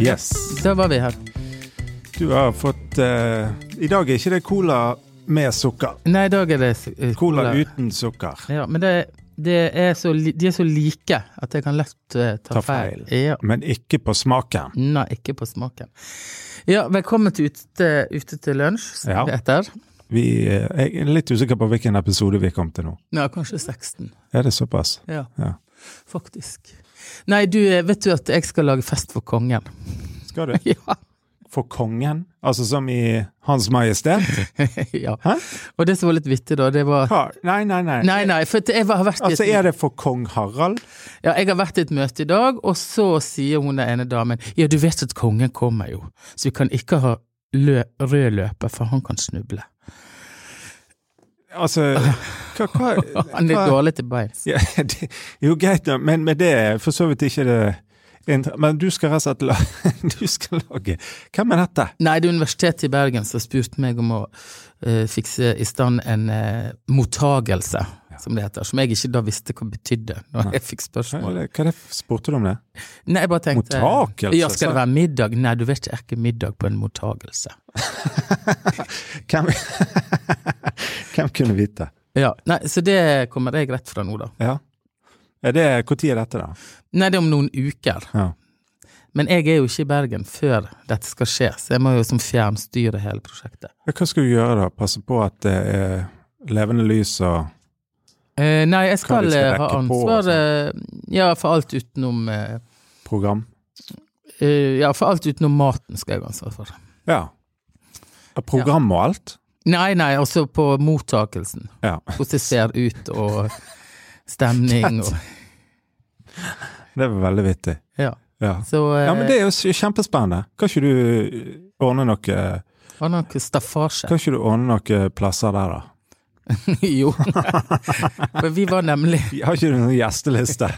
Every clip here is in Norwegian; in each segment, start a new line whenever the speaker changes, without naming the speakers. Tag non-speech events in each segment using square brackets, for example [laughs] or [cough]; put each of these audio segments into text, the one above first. Yes.
Da var vi her.
Du har fått eh, I dag er ikke det cola med sukker.
Nei, i dag er det eh,
Cola uten sukker.
Ja, men det, det er så, li- de er så like at jeg kan lett eh, ta,
Ta
feil.
feil.
Ja.
Men ikke på smaken.
Nei, ikke på smaken. Ja, velkommen til Ute, ute til lunsj, som
Ja.
det heter.
Vi, eh, jeg er litt usikker på hvilken episode vi kom til nå.
Ja, kanskje 16.
Er det såpass?
Ja,
Ja.
faktisk. Nei, du, eh, vet du at jeg skal lage fest for kongen? [laughs]
Skal du?
ja.
For kongen? Altså som i Hans Majestet?
ja.
Hæ?
Og det som var litt vittig, da, det var
Hva? Nei, nei, nei.
Nei, nei, for at jeg har vært i et
Altså, er det for kong Harald?
Ja, jeg har vært i et møte i dag, og så sier hun den ene damen Ja, du vet at kongen kommer jo, så vi kan ikke ha lø rød løper, for han kan snuble.
Altså hva, hva,
[laughs] Han er
hva-
dårlig til beins.
Ja, det, jo, greit, da, men med det er for så vidt ikke det inter- Men du skal rett og slett lage [laughs] Du skal lage Hvem er dette?
Nei, det er Universitetet i Bergen som spurte meg om å eh, fikse i stand en eh, mottagelse, som det heter, som jeg ikke da visste hva betydde, når jeg fikk
Hva
spørsmål.
er det, hva er det spurte du om det?
Nei, jeg bare tenkte
Mottagelse, altså?»
Ja, skal
sa-
det være middag? Nei, du vet ikke, er ikke middag på en mottagelse.
Hvem, [laughs] hvem kunne vite?
Ja, nei, så det kommer jeg rett fra nå, da.
Ja. Er det Når er dette, da?
Nei, det er om noen uker.
Ja.
Men jeg er jo ikke i Bergen før dette skal skje, så jeg må jo som fjernstyre hele prosjektet.
Ja, Hva skal du gjøre da? Passe på at det er levende lys og
Eh, nei, jeg
Hva
skal,
vi skal
eh, ha
dekke på altså? og
ansvar eh, ja, for alt utenom eh,
program?
eh, Ja, for alt utenom maten skal jeg ha ansvar for.
Ja. Og Program og alt?
Nei, nei, også på mottakelsen.
Ja. [laughs]
Hvordan det ser ut, og stemning og
Det var veldig vittig.
Ja.
Ja.
Så eh,
ja, men det er jo s- kjempespennende. Kan ikke du eh, ordne noe
har noe staffasje.
Kan ikke du ordne noen plasser der, [laughs] da?
[laughs]
[laughs]
jo. For vi var nemlig
Jeg har ikke du noen gjesteliste?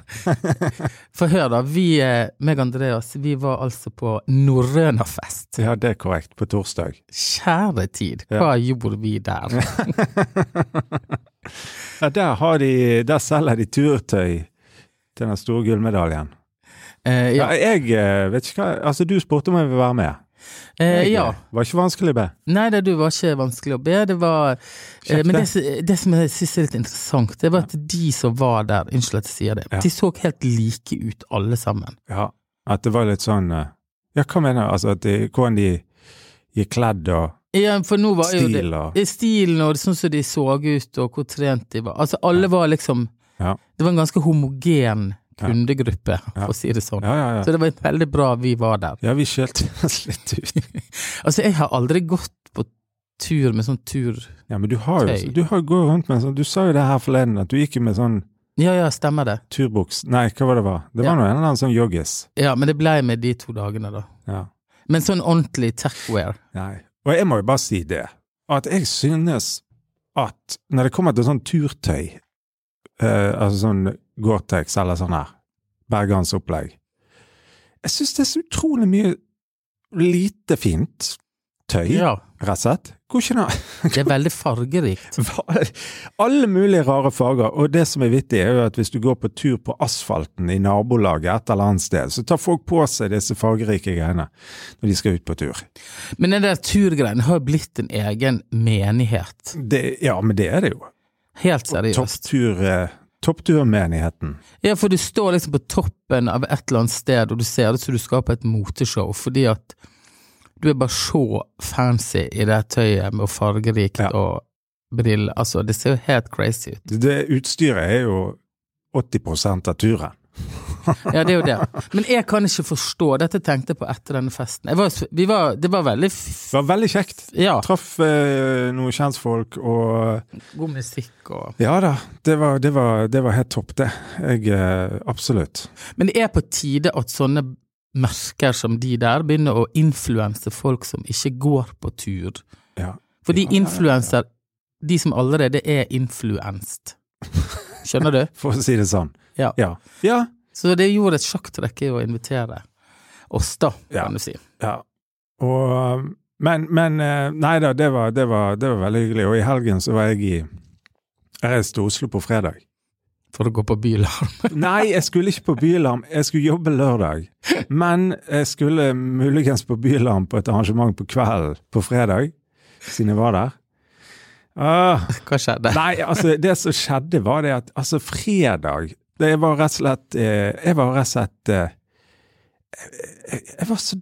For hør, da. Vi, eh, meg og Andreas, vi var altså på norrønafest.
Ja, det er korrekt. På torsdag.
Kjære tid, hva gjorde vi der?
Ja, der, har de, der selger de turtøy til den store gullmedaljen.
Eh,
Ja.
ja.
jeg eh, vet ikke hva Altså, du spurte om jeg ville være med.
Eh,
Jeg,
ja.
eh, Var ikke vanskelig, be.
Nei da, du var ikke vanskelig å be. Det var eh,
Kjekt,
Men det,
det.
som- det som jeg syns er litt interessant, det var at de som var der, unnskyld at jeg sier det,
Ja.
de så helt like ut alle sammen.
Ja. At det var litt sånn eh, Ja, hva mener du? Altså, at de, hvordan de gikk kledd og
Ja, for nå var jo det
stil og
eh, Stilen og sånn som de så ut, og hvor trent de var. Altså, alle var liksom
Ja.
Det var en ganske homogen kundegruppe,
Ja.
for å si det sånn.
Ja, ja, ja.
Så det var veldig bra vi var der.
Ja, vi skjelte [laughs] oss litt ut.
[laughs] Altså, jeg har aldri gått på tur med sånn tur...
Ja, men du har jo
Tøy.
Du har, går rundt med en sånn Du sa jo det her forleden, at du gikk jo med sånn
Ja, ja, stemmer det.
turbuks Nei, hva var det var? Det var
Ja.
nå en eller annen sånn joggis.
Ja, men det blei med de to dagene, da.
Ja.
Men sånn ordentlig techwear.
Nei. Og jeg må jo bare si det, at jeg synes at når det kommer til sånn turtøy, eh, altså sånn Gore-Tex eller sånn her, bergans opplegg, jeg synes det er så utrolig mye lite fint tøy,
Ja,
rett og slett. Går ikke det?
det er veldig fargerikt.
[laughs] Hva- Alle mulige rare farger, og det som er vittig er jo at hvis du går på tur på asfalten i nabolaget et eller annet sted, så tar folk på seg disse fargerike greiene når de skal ut på tur.
Men den der turgreien har blitt en egen menighet.
Det, ja, men det er det jo.
Helt seriøst.
Topptur, eh, toppturmenigheten.
Ja, for du står liksom på toppen av et eller annet sted, og du ser det som du skal på et moteshow, fordi at du er bare så fancy i det tøyet med fargerikt
Ja.
og briller. Altså, det ser jo helt crazy ut.
Det utstyret er jo 80 av turen.
Ja, det er jo det. Men jeg kan ikke forstå Dette tenkte jeg på etter denne festen. Jeg var, vi var, det var veldig f-
Det var veldig kjekt.
Ja,
Traff eh, noen kjentfolk og eh,
god musikk og
Ja da, det var, det var, det var helt topp, det. Jeg eh, Absolutt.
Men det er på tide at sånne merker som de der begynner å influense folk som ikke går på tur.
Ja. Ja,
Fordi
ja, ja, ja.
influenser De som allerede er influenst. Skjønner du?
For å si det sånn.
Ja.
Ja. ja.
Så det gjorde et sjakktrekk i å invitere oss, da,
Ja.
kan du si.
ja. Og Men, men eh, Nei da, det var, det, var, det var veldig hyggelig. Og i helgen så var jeg i Jeg reiste til Oslo på fredag.
for å gå på bylarm.
Nei, jeg skulle ikke på Bylarm. Jeg skulle jobbe lørdag. Men jeg skulle muligens på Bylarm på et arrangement på kvelden på fredag, siden jeg var der. Ah,
[laughs] Hva skjedde?
nei, altså, det som skjedde, var det at altså, fredag det var rett og slett eh, Jeg var rett og slett eh, jeg, jeg var så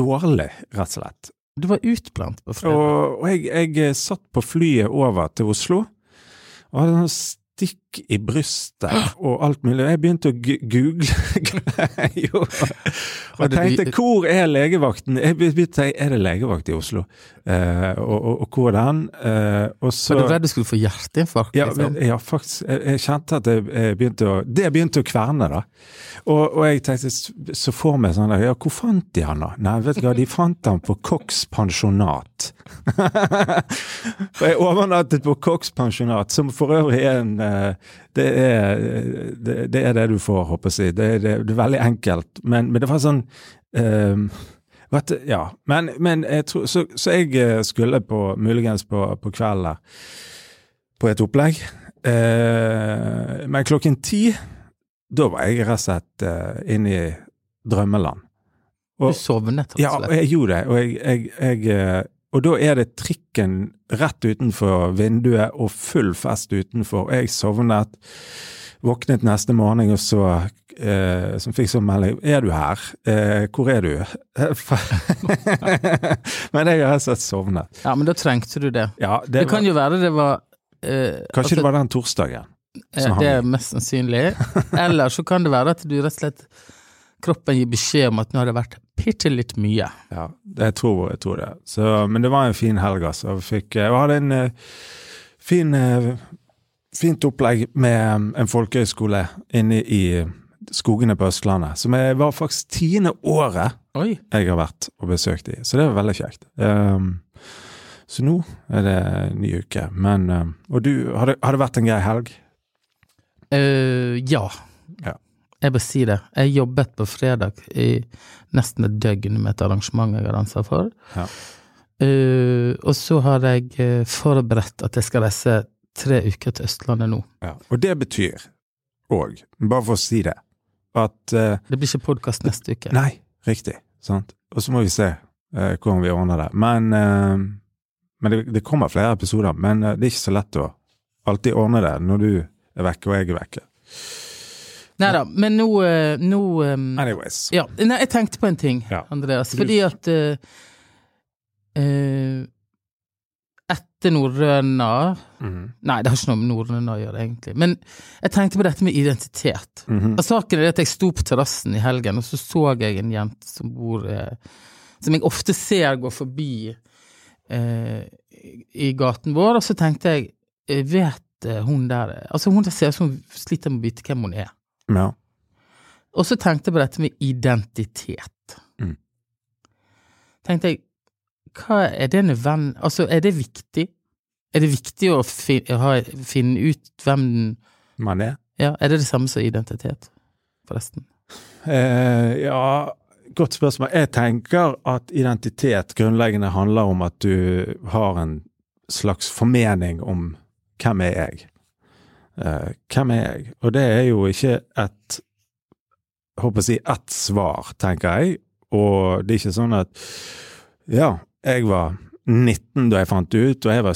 dårlig, rett og slett.
Du var utblant på fredag.
Og, og jeg, jeg eh, satt på flyet over til Oslo og hadde sånn stikk i brystet og alt mulig. Jeg begynte å gu- google. [laughs] jo. Og
Hadde
jeg tenkte
du-
hvor er legevakten? Jeg begynte å tenke er det legevakt i Oslo? Eh, og, og, og hvor er den? Eh, og så
Var du redd du skulle få hjerteinfarkt?
ja,
liksom?
men- ja, faktisk. Jeg, jeg kjente at jeg, jeg begynte å, det begynte å kverne, da. Og, og jeg tenkte s- så for meg sånn der, Ja, hvor fant de han, da? Nei, vet du hva, de fant han på Cox pensjonat. [laughs] For jeg overnattet på Cox pensjonat, som for øvrig er en eh, Det er eh, det, det, er det du får, håper jeg å si. Det, er- det, det er veldig enkelt. Men, men det var sånn ehm, vet du, ja, men, men jeg tror, så, så jeg eh, skulle på, muligens på, på kvelden der på et opplegg. Eh, men klokken ti, da var jeg rett og slett eh, inne i drømmeland. og-
Du sovnet, rett
Ja,
og
og
slett.
jeg gjorde det. Og, jeg, jeg, jeg, eh, og da er det trikken rett utenfor vinduet og full fest utenfor. Jeg sovnet, våknet neste morgen og så eh, som fikk sånn melding Er du her? Eh, hvor er du? [laughs] Men jeg har rett og slett sovnet.
Ja, men da trengte du det.
Ja, det,
Det kan
var,
jo være det var eh,
kanskje
altså,
det var den torsdagen.
Eh,
Som
Det
han-
er mest sannsynlig. Eller så kan det være at du rett og slett Kroppen gir beskjed om at nå har det vært bitte litt mye.
Ja, jeg tror, jeg tror det. Så, men det var en fin helg, altså. Jeg, fikk, jeg hadde en eh, fin, eh, fint opplegg med eh, en folkehøyskole inne i skogene på Østlandet, som jeg var faktisk tiende året
Oi.
jeg har vært og besøkt i. Så det var veldig kjekt. Ehm, så nå er det en ny uke. Men, ehm, og du, har det, har det vært en grei helg?
Eh, ja.
Ja.
Jeg bare sier det. Jeg jobbet på fredag i nesten et døgn med et arrangement jeg har ansvar for.
Ja.
Eh, og så har jeg eh, forberedt at jeg skal reise tre uker til Østlandet nå.
Og det betyr òg, bare for å si det, at eh,
Det blir ikke podkast neste uke.
Nei, riktig. Sant? Og så må vi se eh, hvordan vi ordner det. Men, eh, men det, det kommer flere episoder. Men eh, det er ikke så lett å alltid ordne det når du er vekke og jeg er vekke.
Neida, men nå, eh, nå eh,
Anyways.
Ja, nei, jeg tenkte på en ting,
Ja.
Andreas.
Du-
Fordi at eh, eh, Etter norrøna
Mhm.
Nei, det har ikke noe med norrøna å gjøre, egentlig. Men jeg tenkte på dette med identitet.
Mhm.
Og saken er at jeg sto på terrassen i helgen, og så så jeg en jente som bor eh, Som jeg ofte ser gå forbi eh, i gaten vår, og så tenkte jeg eh, Vet eh, hun der Altså, hun der ser ut som hun sliter med å vite hvem hun er.
Ja.
Og så tenkte jeg på dette med identitet.
Mm.
Tenkte jeg, hva er det nødvendig Altså, er det viktig? Er det viktig å fin ha, finne ut hvem den
Man er.
Ja, er det det samme som identitet, forresten?
Eh, ja, godt spørsmål. Jeg tenker at identitet grunnleggende handler om at du har en slags formening om hvem er jeg? Eh, hvem er jeg? Og det er jo ikke et jeg håper å si ett svar, tenker jeg. Og det er ikke sånn at ja, jeg var 19 da jeg fant det ut, og jeg var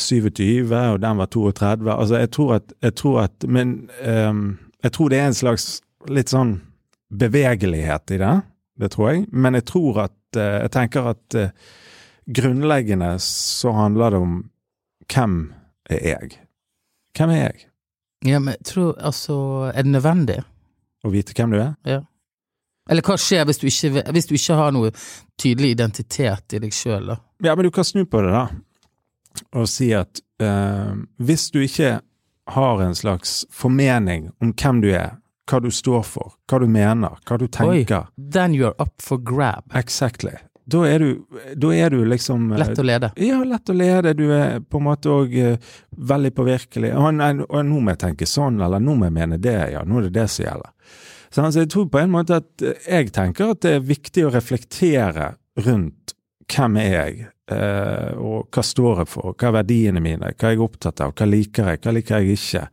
27, og den var 32. Altså, jeg tror at, jeg tror at Men ehm, jeg tror det er en slags litt sånn bevegelighet i det. Det tror jeg. Men jeg tror at eh, Jeg tenker at eh, grunnleggende så handler det om hvem er jeg? Hvem er jeg?
Ja, men jeg tror Altså, er det nødvendig?
Å vite hvem du er?
Eller hva skjer hvis du ikke, ve- hvis du ikke har noe tydelig identitet i deg sjøl, da?
Ja, men du kan snu på det, da, og si at eh, hvis du ikke har en slags formening om hvem du er, hva du står for, hva du mener, hva du tenker
Then you're up for grab.
Exactly. Da er du, da er du liksom eh,
Lett å lede.
ja, lett å lede. Du er på en måte òg veldig påvirkelig. Og, nei, og nå må jeg tenke sånn, eller nå må jeg mene det, ja. Nå er det det som gjelder. Så altså, jeg tror på en måte at eh, jeg tenker at det er viktig å reflektere rundt hvem er jeg, eh, og hva står jeg for, hva er verdiene mine, hva er jeg opptatt av, hva liker jeg, hva liker jeg ikke.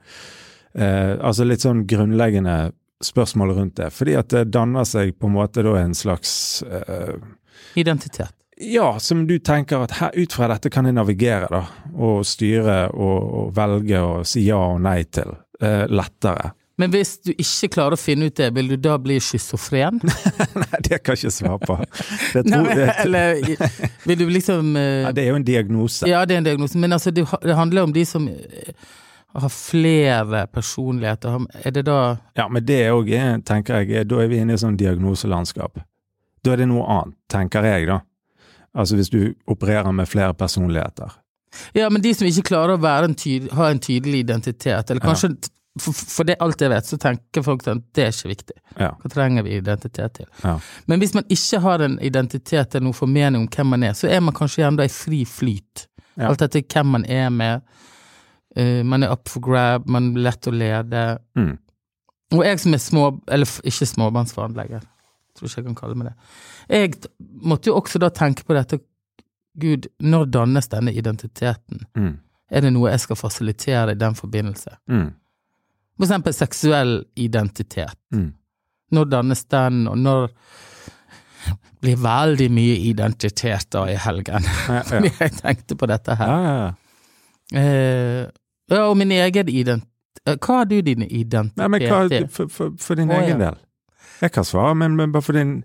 Eh, altså litt sånn grunnleggende spørsmål rundt det. Fordi at det danner seg på en måte da en slags eh,
Identitet.
Ja, som du tenker at her, ut fra dette kan jeg navigere, da. Og styre og, og velge og si ja og nei til. Eh, lettere. [laughs]
Men hvis du ikke klarer å finne ut det, vil du da bli schizofren?
Nei, det kan jeg ikke svare på. Det,
Nei,
tror,
men-
det,
Eller i- vil du liksom eh,
ja, det er jo en diagnose.
Ja, det er en diagnose, men altså, det, det handler om de som eh, har flere personligheter. Har- Er det da
Ja, men det er òg, tenker jeg, er- da er vi inne i sånn diagnoselandskap. Da er det noe annet, tenker jeg, da. Altså hvis du opererer med flere personligheter.
Ja, men de som ikke klarer å være en tyd, ha en tydelig identitet, eller kanskje For, for det, alt jeg vet, så tenker folk at det er ikke viktig.
Ja.
Hva trenger vi identitet til?
Ja.
Men hvis man ikke har en identitet eller noen formening om hvem man er, så er man kanskje igjen da i fri flyt.
Ja.
Alt dette hvem man er med. eh, man er up for grab, man blir lett å lede.
Mm.
Og jeg som er små, eller f- ikke småbarnsfaren lenger, tror ikke jeg kan kalle meg det. Jeg t- måtte jo også da tenke på dette, Gud, når dannes denne identiteten?
Mm.
Er det noe jeg skal fasilitere i den forbindelse?
Mm.
For eksempel seksuell identitet.
Mm.
Når dannes den, og når blir veldig mye identitet da i helgen?
Ja, ja.
Fordi [laughs] jeg tenkte på dette her.
Ja, ja, ja.
Eh, ja, og min egen ident... eh, Hva har du din identitet
Nei, men hva,
til?
for, for, for din
Å,
egen
ja.
del. Jeg kan svare, men, men bare for din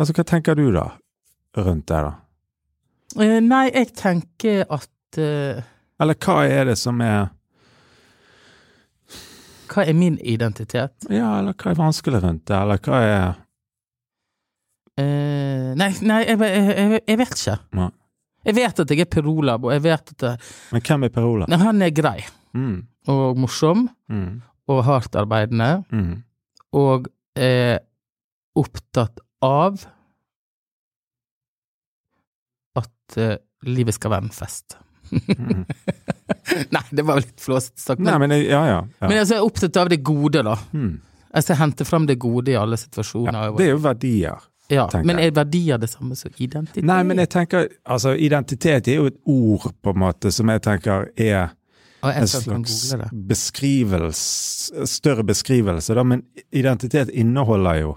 Altså, hva tenker du, da? Rundt det, da?
Eh, nei, jeg tenker at eh,
Eller hva er det som er
Hva er min identitet?
Ja, eller hva er vanskelig rundt det, eller hva er
Eh, nei, nei jeg, jeg, jeg, jeg vet ikke.
Nei.
Jeg vet at jeg er perolab, og jeg vet at jeg,
Men hvem er Per Olav?
Nei, han er grei
Mm,
og morsom.
mm,
og hardtarbeidende,
mm.
og er opptatt av at eh, livet skal være en fest. [laughs]
Mm.
Nei, det var litt flåsete sagt,
Nei,
men,
men det- ja, ja. ja.
men altså, jeg er opptatt av det gode, da.
Mm.
Altså, jeg henter fram det gode i alle situasjoner.
ja
og-
det er jo verdier.
ja,
tenker
men
jeg.
er verdier det samme som identitet?
Nei, men jeg tenker Altså, identitet er jo et ord, på en måte, som jeg tenker er
og
en
jeg
slags
skal kan google det.
beskrivelse Større beskrivelse, da. Men identitet inneholder jo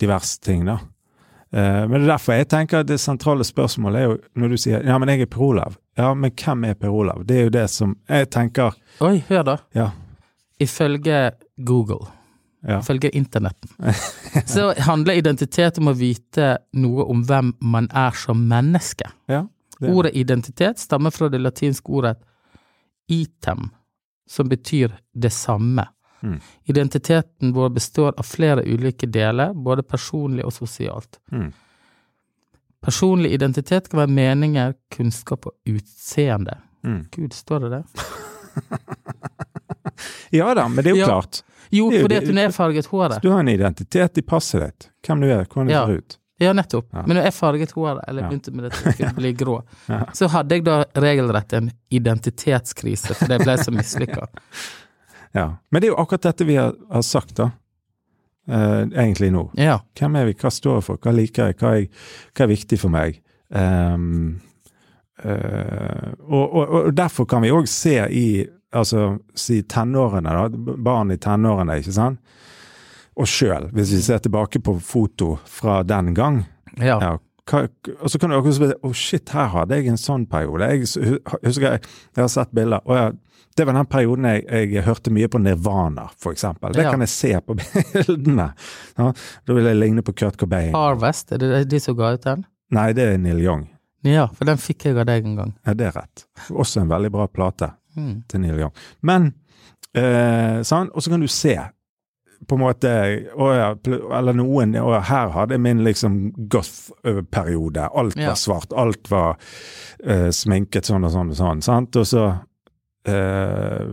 diverse ting, da. Eh, Men det er derfor jeg tenker at det sentrale spørsmålet er jo når du sier ja, men jeg er Per Olav. Ja, men hvem er Per Olav? Det er jo det som jeg tenker
Oi, hør da.
Ja.
Ifølge Google,
Ja.
ifølge internetten,
[laughs]
så handler identitet om å vite noe om hvem man er som menneske.
ja det,
Ordet identitet stammer fra det latinske ordet item, som betyr det samme.
Mm.
Identiteten vår består av flere ulike deler, både personlig og sosialt.
Mm.
Personlig identitet kan være meninger, kunnskap og utseende.
Mm.
Gud, står det det?
Ja da, men det er jo
Ja.
klart.
Jo,
Det er jo
fordi
det-
at hun er farget håret.
Du har en identitet i passet ditt. Hvem du er, hvordan du
Ja.
ser ut.
Ja, nettopp.
Ja.
Men når jeg farget håret, eller
Ja.
begynte med det til jeg skulle bli grå,
[laughs] Ja.
så hadde jeg da regelrett en identitetskrise, for det ble så
[laughs]
mislykka.
Ja. Men det er jo akkurat dette vi har, har sagt, da. Eh, egentlig nå.
Ja.
Hvem er vi, hva står jeg for, hva liker jeg, hva er, hva er viktig for meg? Ehm, eh, og, og, og derfor kan vi òg se i altså, si tenårene, da, b- barn i tenårene, ikke sant? Og sjøl, hvis vi ser tilbake på foto fra den gang.
ja.
Ja, hva, og så kan du også spørre Å, shit, her hadde jeg en sånn periode. Jeg s- hu- husker jeg, jeg har sett bilder. Og ja, det var den perioden jeg, jeg hørte mye på Nirvana, for eksempel. Det
Ja.
kan jeg se på [laughs] bildene. Ja, da vil jeg ligne på Kurt Cobain.
Harvest, er det de som ga ut den?
Nei, det er Neil Young.
Ja, for den fikk jeg av deg en gang.
Ja, det er rett. Også en veldig bra plate
Mm.
til Neil Young. Men eh, sånn, Og så kan du se på en måte å ja, pl- Eller noen å, ja, Her hadde jeg min liksom goth-periode. Alt
Ja.
var svart, alt var eh, sminket sånn og sånn og sånn. Sant? Og så eh,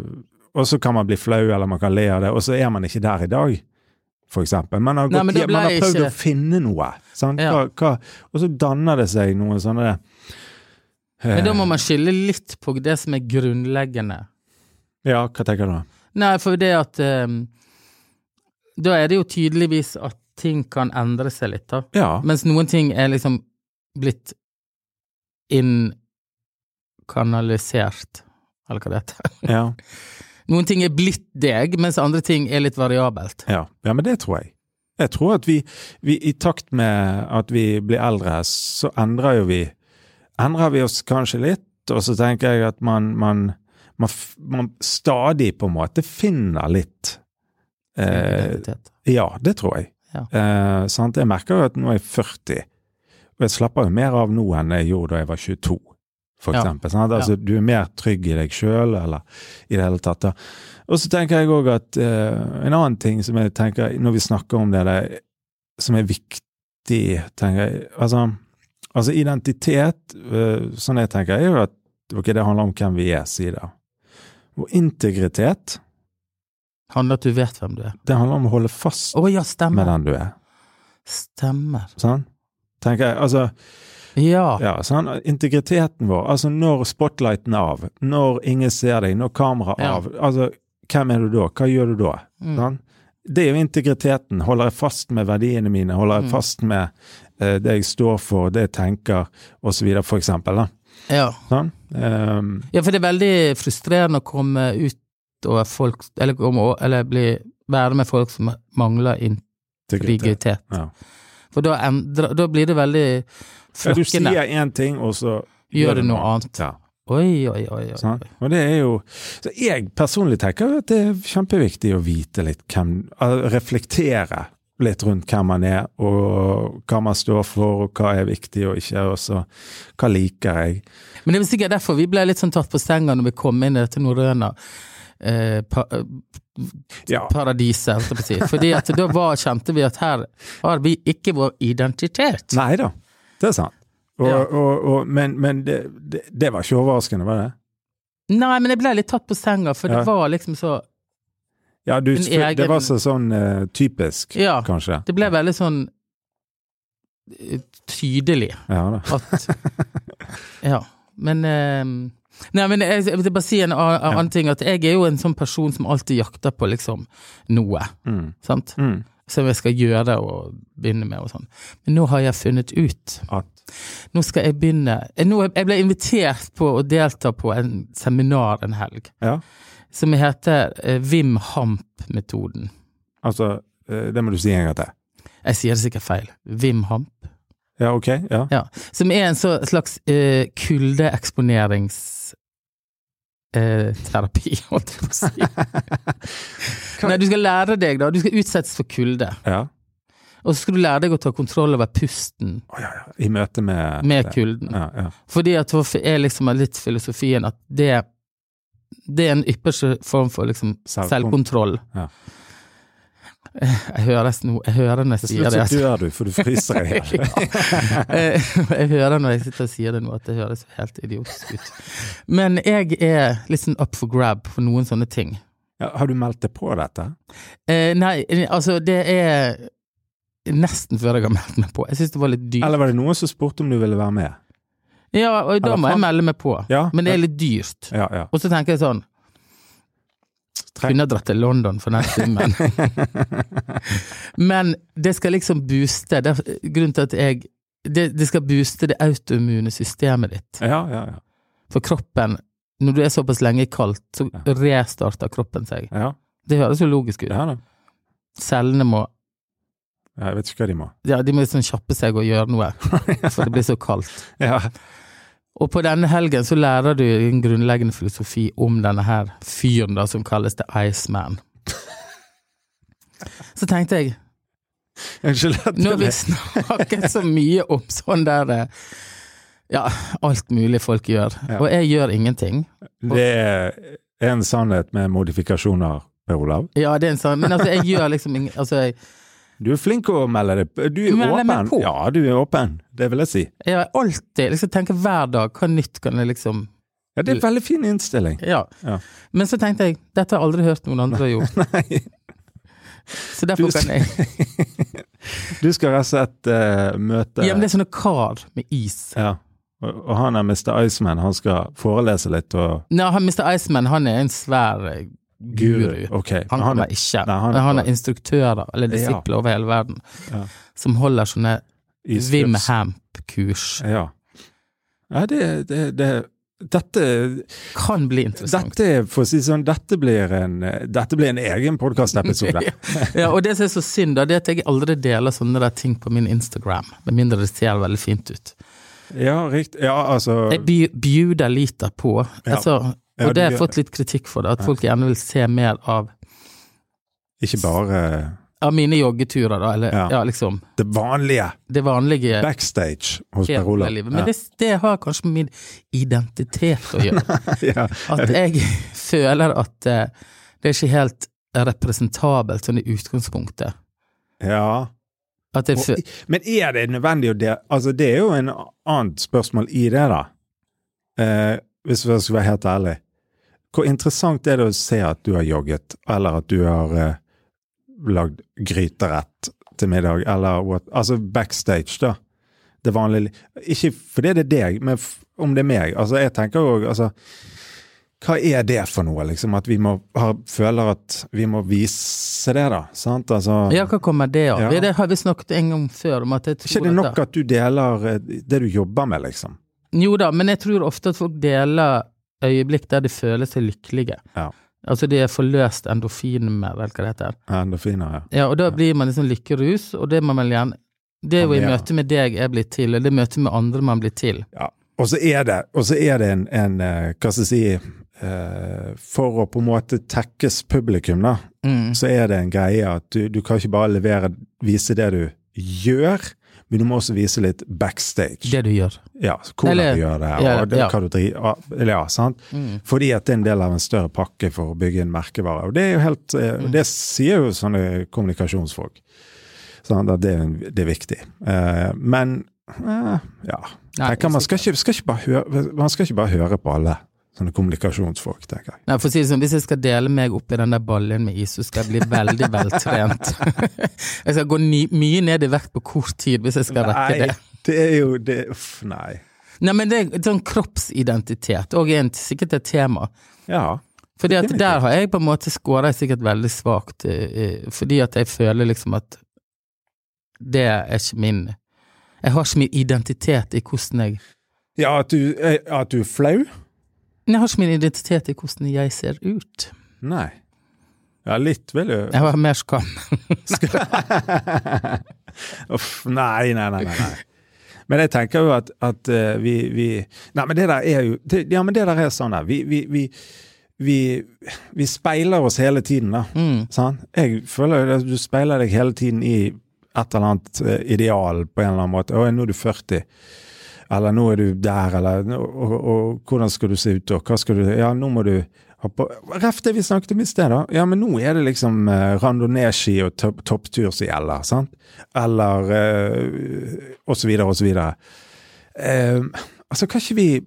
Og så kan man bli flau, eller man kan le av det, og så er man ikke der i dag. For eksempel. Man har, gått,
Nei, men da ble
man har
jeg
prøvd
ikke-
å finne noe. Sant?
Ja.
Hva, hva, og så danner det seg noen sånne eh,
Men da må man skille litt på det som er grunnleggende.
Ja, hva tenker du da?
Nei, for det at eh, Da er det jo tydeligvis at ting kan endre seg litt, da.
Ja.
Mens noen ting er liksom blitt innkanalisert, eller hva det heter.
ja.
Noen ting er blitt deg, mens andre ting er litt variabelt.
Ja, ja men det tror jeg. Jeg tror at vi, vi i takt med at vi blir eldre, så endrer jo vi Endrer vi oss kanskje litt, og så tenker jeg at man, man, man, f- man stadig på en måte finner litt eh,
Identitet.
Ja, det tror jeg.
Ja.
Eh, sant? Jeg merker jo at nå er jeg 40, og jeg slapper jo mer av nå enn jeg gjorde da jeg var 22, for
Ja.
eksempel. Sant? Altså, Du er mer trygg i deg sjøl, eller i det hele tatt. Da. Og så tenker jeg òg at eh, en annen ting som jeg tenker, når vi snakker om det der, som er viktig, tenker jeg Altså, altså identitet, eh, sånn jeg tenker, er jo at ok, det handler om hvem vi er, sier det. Og integritet,
Handler at du vet hvem du er.
det handler om å holde fast
Å ja,
med
stemmer.
den du er.
Stemmer.
Sånn? Tenker jeg, altså,
Ja.
ja, sånn, Integriteten vår, altså når spotlighten er av, når ingen ser deg, når kameraet er
Ja.
av, altså hvem er du da, hva gjør du da?
Mm.
Sånn? Det er jo integriteten. Holder jeg fast med verdiene mine, holder jeg
Mm.
fast med eh, det jeg står for, det jeg tenker, osv., for eksempel. Da.
ja.
Sånn? Ehm,
Ja, for det er veldig frustrerende å komme ut over folk Eller, komme, å- eller bli, være med folk som mangler
integritet.
integritet.
Ja.
For da, endrer, da blir det veldig
Ja, Du
frokkende.
sier én ting, og så
Gjør du noe annet?
Ja.
Oi, oi, oi. oi.
Sant? Og det er jo så Jeg personlig tenker jo at det er kjempeviktig å vite litt hvem al- Reflektere litt rundt hvem man er, og hva man står for, og hva er viktig og ikke, og så hva liker jeg.
Men det er vel sikkert derfor vi ble litt sånn tatt på stenga når vi kom inn i dette norrøne eh, pa,
Ja,
paradiset, holdt jeg på å si. Fordi at da var, kjente vi at her har vi ikke vår identitet.
Nei da, det er sant. Og,
Ja.
og, og, men men det, det, det var ikke overraskende, var det?
Nei, men jeg ble litt tatt på stenga, for
Ja.
det var liksom så
Ja, du,
Men jeg-
det var så sånn eh, typisk,
Ja,
kanskje.
Det ble veldig sånn eh, tydelig
Ja da.
at
[laughs]
Ja. Men eh, Nei, men jeg, jeg vil bare si en annen, annen ting. At jeg er jo en sånn person som alltid jakter på liksom noe.
Mm.
Sant?
Mm.
Som jeg skal gjøre og begynne med og sånn. Men nå har jeg funnet ut.
At,
Nå skal jeg begynne eh, nå, Jeg ble invitert på å delta på en seminar en helg
ja,
som heter eh, Wim Hamp-metoden.
altså eh, Det må du si en gang til.
Jeg sier det sikkert feil. Wim Hamp.
Ja, ok? Ja.
Ja, som er en så slags eh, kuldeeksponeringsterapi, eh, terapi, [laughs] holdt jeg på å si.
[laughs]
Nei, du skal lære deg, da. Du skal utsettes for kulde.
ja.
Og så skal du lære deg å ta kontroll over pusten
Å, ja, ja. I møte med
med
det.
kulden.
Ja, ja.
Fordi at hvorfor er liksom litt filosofien at det, det er en ypperste form for liksom
Selvkon-
selvkontroll. Eh,
Ja.
Jeg høres nå, jeg hører når jeg
Til
sier
slutt
det.
så dør du, for du fryser i hjel.
[laughs] Eh, jeg hører når jeg sitter og sier det nå, at det høres helt idiotisk ut. Men jeg er litt sånn up for grab for noen sånne ting.
Ja, har du meldt deg på dette?
Eh, nei, altså, det er nesten før jeg har meldt meg på. Jeg syns det var litt dyrt.
Eller var det noen som spurte om du ville være med?
Ja, og da
eller
må jeg
faen.
melde meg på.
Ja,
Men det er litt dyrt.
ja, ja.
Og så tenker jeg sånn
Tre-
Kunne jeg dratt til London for den
[laughs]
summen. Men det skal liksom booste det er Grunnen til at jeg det, det skal booste det autoimmune systemet ditt.
ja, ja, ja.
For kroppen, når du er såpass lenge kaldt, så
Ja.
restarter kroppen seg.
ja,
Det høres jo logisk ut.
ja da.
Cellene må
Ja, jeg vet ikke hva de må.
ja, de må liksom kjappe seg og gjøre
[laughs]
noe, for det blir så kaldt.
Ja,
Og på denne helgen så lærer du en grunnleggende filosofi om denne her fyren da, som kalles The
[laughs]
Iceman. Så tenkte jeg,
Unnskyld at
nå har vi
jeg-
snakket så mye om sånn der eh, ja, alt mulig folk gjør,
Ja.
og jeg gjør ingenting.
Det er en sannhet med modifikasjoner, Per Olav.
Ja, det er en sånn, men altså, jeg gjør liksom ingen, altså, jeg,
Du er flink å melde deg på. Du er
Melde meg
åpen.
på.
Ja, du er åpen. Det vil jeg si.
Jeg har alltid liksom tenker hver dag hva nytt kan jeg liksom
Ja, det er en veldig fin innstilling.
ja.
Ja.
Men så tenkte jeg dette har jeg aldri hørt noen andre gjort,
[laughs] Nei.
så derfor
Du-
kan jeg
Du skal rett og slett eh, møte
Ja, men det er sånne kar med is.
Ja. Og, og han er Mr. Iceman, han skal forelese litt og
Nei, han, Mr. Iceman han er en svær eh, guru.
Ok. men
Han
er-
kommer ikke.
Nei, han er
Men han
på-
har instruktører, eller disipler, over hele verden,
Ja.
som holder sånne
i
Wim
slips.
Hamp-kurs.
Ja. ja det, det, det dette
Kan bli interessant.
Dette, er- for å si det sånn, dette blir en, eh, dette blir en egen podkastepisode.
[laughs] ja, og det som er så synd, da, det er at jeg aldri deler sånne der ting på min Instagram. Med mindre det ser veldig fint ut.
ja, riktig. Ja, altså
Jeg by- bjuder lite på.
Ja.
Altså,
Ja,
og det har
du-
jeg fått litt kritikk for, da, at folk gjerne vil se mer av,
Ikke bare
av mine joggeturer, da, eller
Ja.
ja. liksom
det vanlige
det vanlige.
backstage hos Per
helt
Olav.
med livet. Men det, det har kanskje med min identitet å
[laughs]
gjøre.
[laughs] ja,
At jeg føler at eh, det er ikke helt representabelt sånn i utgangspunktet.
ja.
At jeg
Og,
fø-
men er det nødvendig å det? Altså, det er jo en annet spørsmål i det, da. Eh, hvis jeg skal være helt ærlig. Hvor interessant er det å se at du har jogget, eller at du har eh, lagd gryterett til middag, eller what? Altså backstage, da. Det vanlige li- Ikke fordi det er deg, men f om det er meg. Altså, jeg tenker jo altså, hva er det for noe, liksom? At vi må ha, føler at vi må vise det, da. Sant? Altså,
ja, hva kommer det av?
Ja.
Vi- Det har vi snakket en gang før om at jeg
ikke
tror
det
at
nok at du deler eh, det du jobber med, liksom?
Jo da, men jeg tror ofte at folk deler øyeblikk der de føler seg lykkelige.
Ja.
Altså de er forløst endorfiner, eller hva det heter.
Endorfiner, ja.
Ja, og da blir man liksom lykkerus, og det må man gjerne Det er jo i
Ja.
møte med deg jeg blir til, og det er i møte med andre man blir til.
ja. Og så er det, og så er det en, en eh, hva skal jeg si eh, For å på en måte tekkes publikum, da,
Mm.
så er det en greie at du, du kan ikke bare levere, vise det du gjør, men du må også vise litt backstage.
Det du gjør.
Ja, hvordan
Eller-
du gjør det, og
ja,
det,
ja. Mm.
hva du driver ja, eller ja, sant? Fordi at det er en del av en større pakke for å bygge en merkevare. Og det er jo helt eh,
Mm.
Det sier jo sånne kommunikasjonsfolk. Sånn at det, er en- det er viktig. Eh, men eh, ja.
Nei,
tenker, man, skal ikke, skal ikke bare høre, man skal ikke bare høre på alle sånne kommunikasjonsfolk, tenker jeg.
Nei, for å si det sånn, Hvis jeg skal dele meg opp i den der ballen med is, så skal jeg bli veldig
[laughs]
veltrent. [laughs] jeg skal gå ny, mye ned i vekt på kort tid hvis jeg skal rekke det.
det er jo det Uff, nei.
Nei, men det er sånn kroppsidentitet òg er en- sikkert et tema.
Ja.
Fordi at
Definitivt.
der har jeg på en måte scora sikkert veldig svakt, eh, fordi at jeg føler liksom at det er ikke min Jeg har ikke min identitet i hvordan jeg
Ja, at du, eh, at du er flau?
Men jeg har ikke min identitet i hvordan jeg ser ut.
Nei. Ja, litt vil jo
Jeg har mer skam.
Uff, nei, nei, nei, nei, nei. Men jeg tenker jo at, at eh, vi, vi Nei, men det der er jo det, Ja, men det der er sånn der. Vi, vi, vi, vi, vi speiler oss hele tiden, da.
Mm.
Sant? Jeg føler jo at du speiler deg hele tiden i et eller annet eh, ideal på en eller annen måte. Å, nå er du 40. Eller nå er du der, eller nå- og, og, og hvordan skal du se ut, og hva skal du Ja, nå må du ha på Ref det vi snakket om i sted, da. Ja, men nå er det liksom eh, randonee-ski og topp- topptur som gjelder, sant? Eller eh, og så videre, og så videre. Eh, altså, kan ikke vi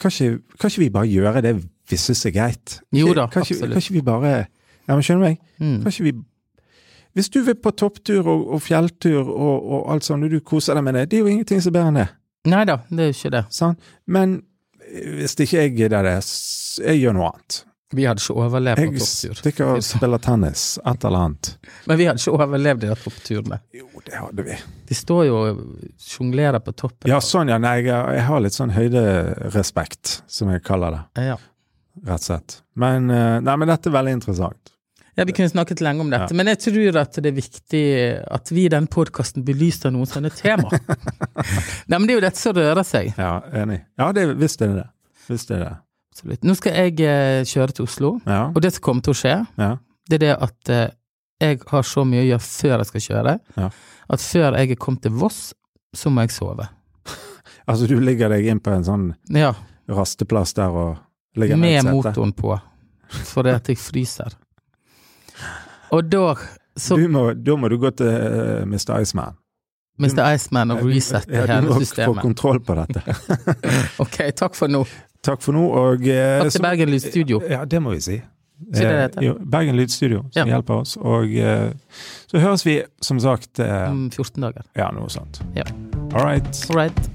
kan ikke, kan ikke vi bare gjøre det vi syns er greit?
Jo da,
kan ikke,
absolutt.
Kan ikke vi bare Ja, men skjønner du meg?
Mm.
Kan ikke vi Hvis du vil på topptur og, og fjelltur og, og alt sånt, og du koser deg med det, det er jo ingenting som er bedre enn det.
Nei da, det er jo ikke det.
Sant? Men eh, hvis det ikke jeg gidder det, s- jeg gjør noe annet.
Vi hadde ikke overlevd på
Jeg
topptur.
stikker og spiller tennis, et eller annet.
[laughs] Men vi hadde ikke overlevd de der toppturene.
Jo, det hadde vi.
De står jo og sjonglerer på toppen.
Ja, sånn, ja. Nei, jeg, jeg har litt sånn høyderespekt, som jeg kaller det,
Ja.
rett og slett. Men, eh, nei, men dette er veldig interessant.
Ja, vi kunne snakket lenge om dette, men jeg tror at det er viktig at vi i den podkasten belyser noen
[laughs]
sånne temaer. Nei, men det er jo dette som rører seg.
Ja, enig. Ja, det, visst er det det. Visst er det det.
Absolutt. Nå skal jeg eh, kjøre til Oslo,
Ja,
og det som kommer til å skje,
ja,
det er det at eh, jeg har så mye å gjøre før jeg skal kjøre,
Ja.
at før jeg er kommet til Voss, så må jeg sove.
Altså, du ligger deg inn på en sånn
Ja,
rasteplass der og ligger ned i
med
setet.
motoren på, fordi at jeg fryser. Og da så
Du må, da må du gå til eh, Mr. Iceman.
Mr. Iceman og reset
Ja,
det
du
hele
må få
systemet.
kontroll på dette.
Ok, takk for nå.
Takk for nå, og eh,
Takk
så-
til Bergen Lydstudio.
Ja, det må vi si.
Si det det
Eh,
heter.
jo, Bergen Lydstudio som
Ja.
hjelper oss. Og eh, så høres vi, som sagt, eh,
om 14 dager.
ja, noe sånt.
Mm. Ja.
All right.
All right.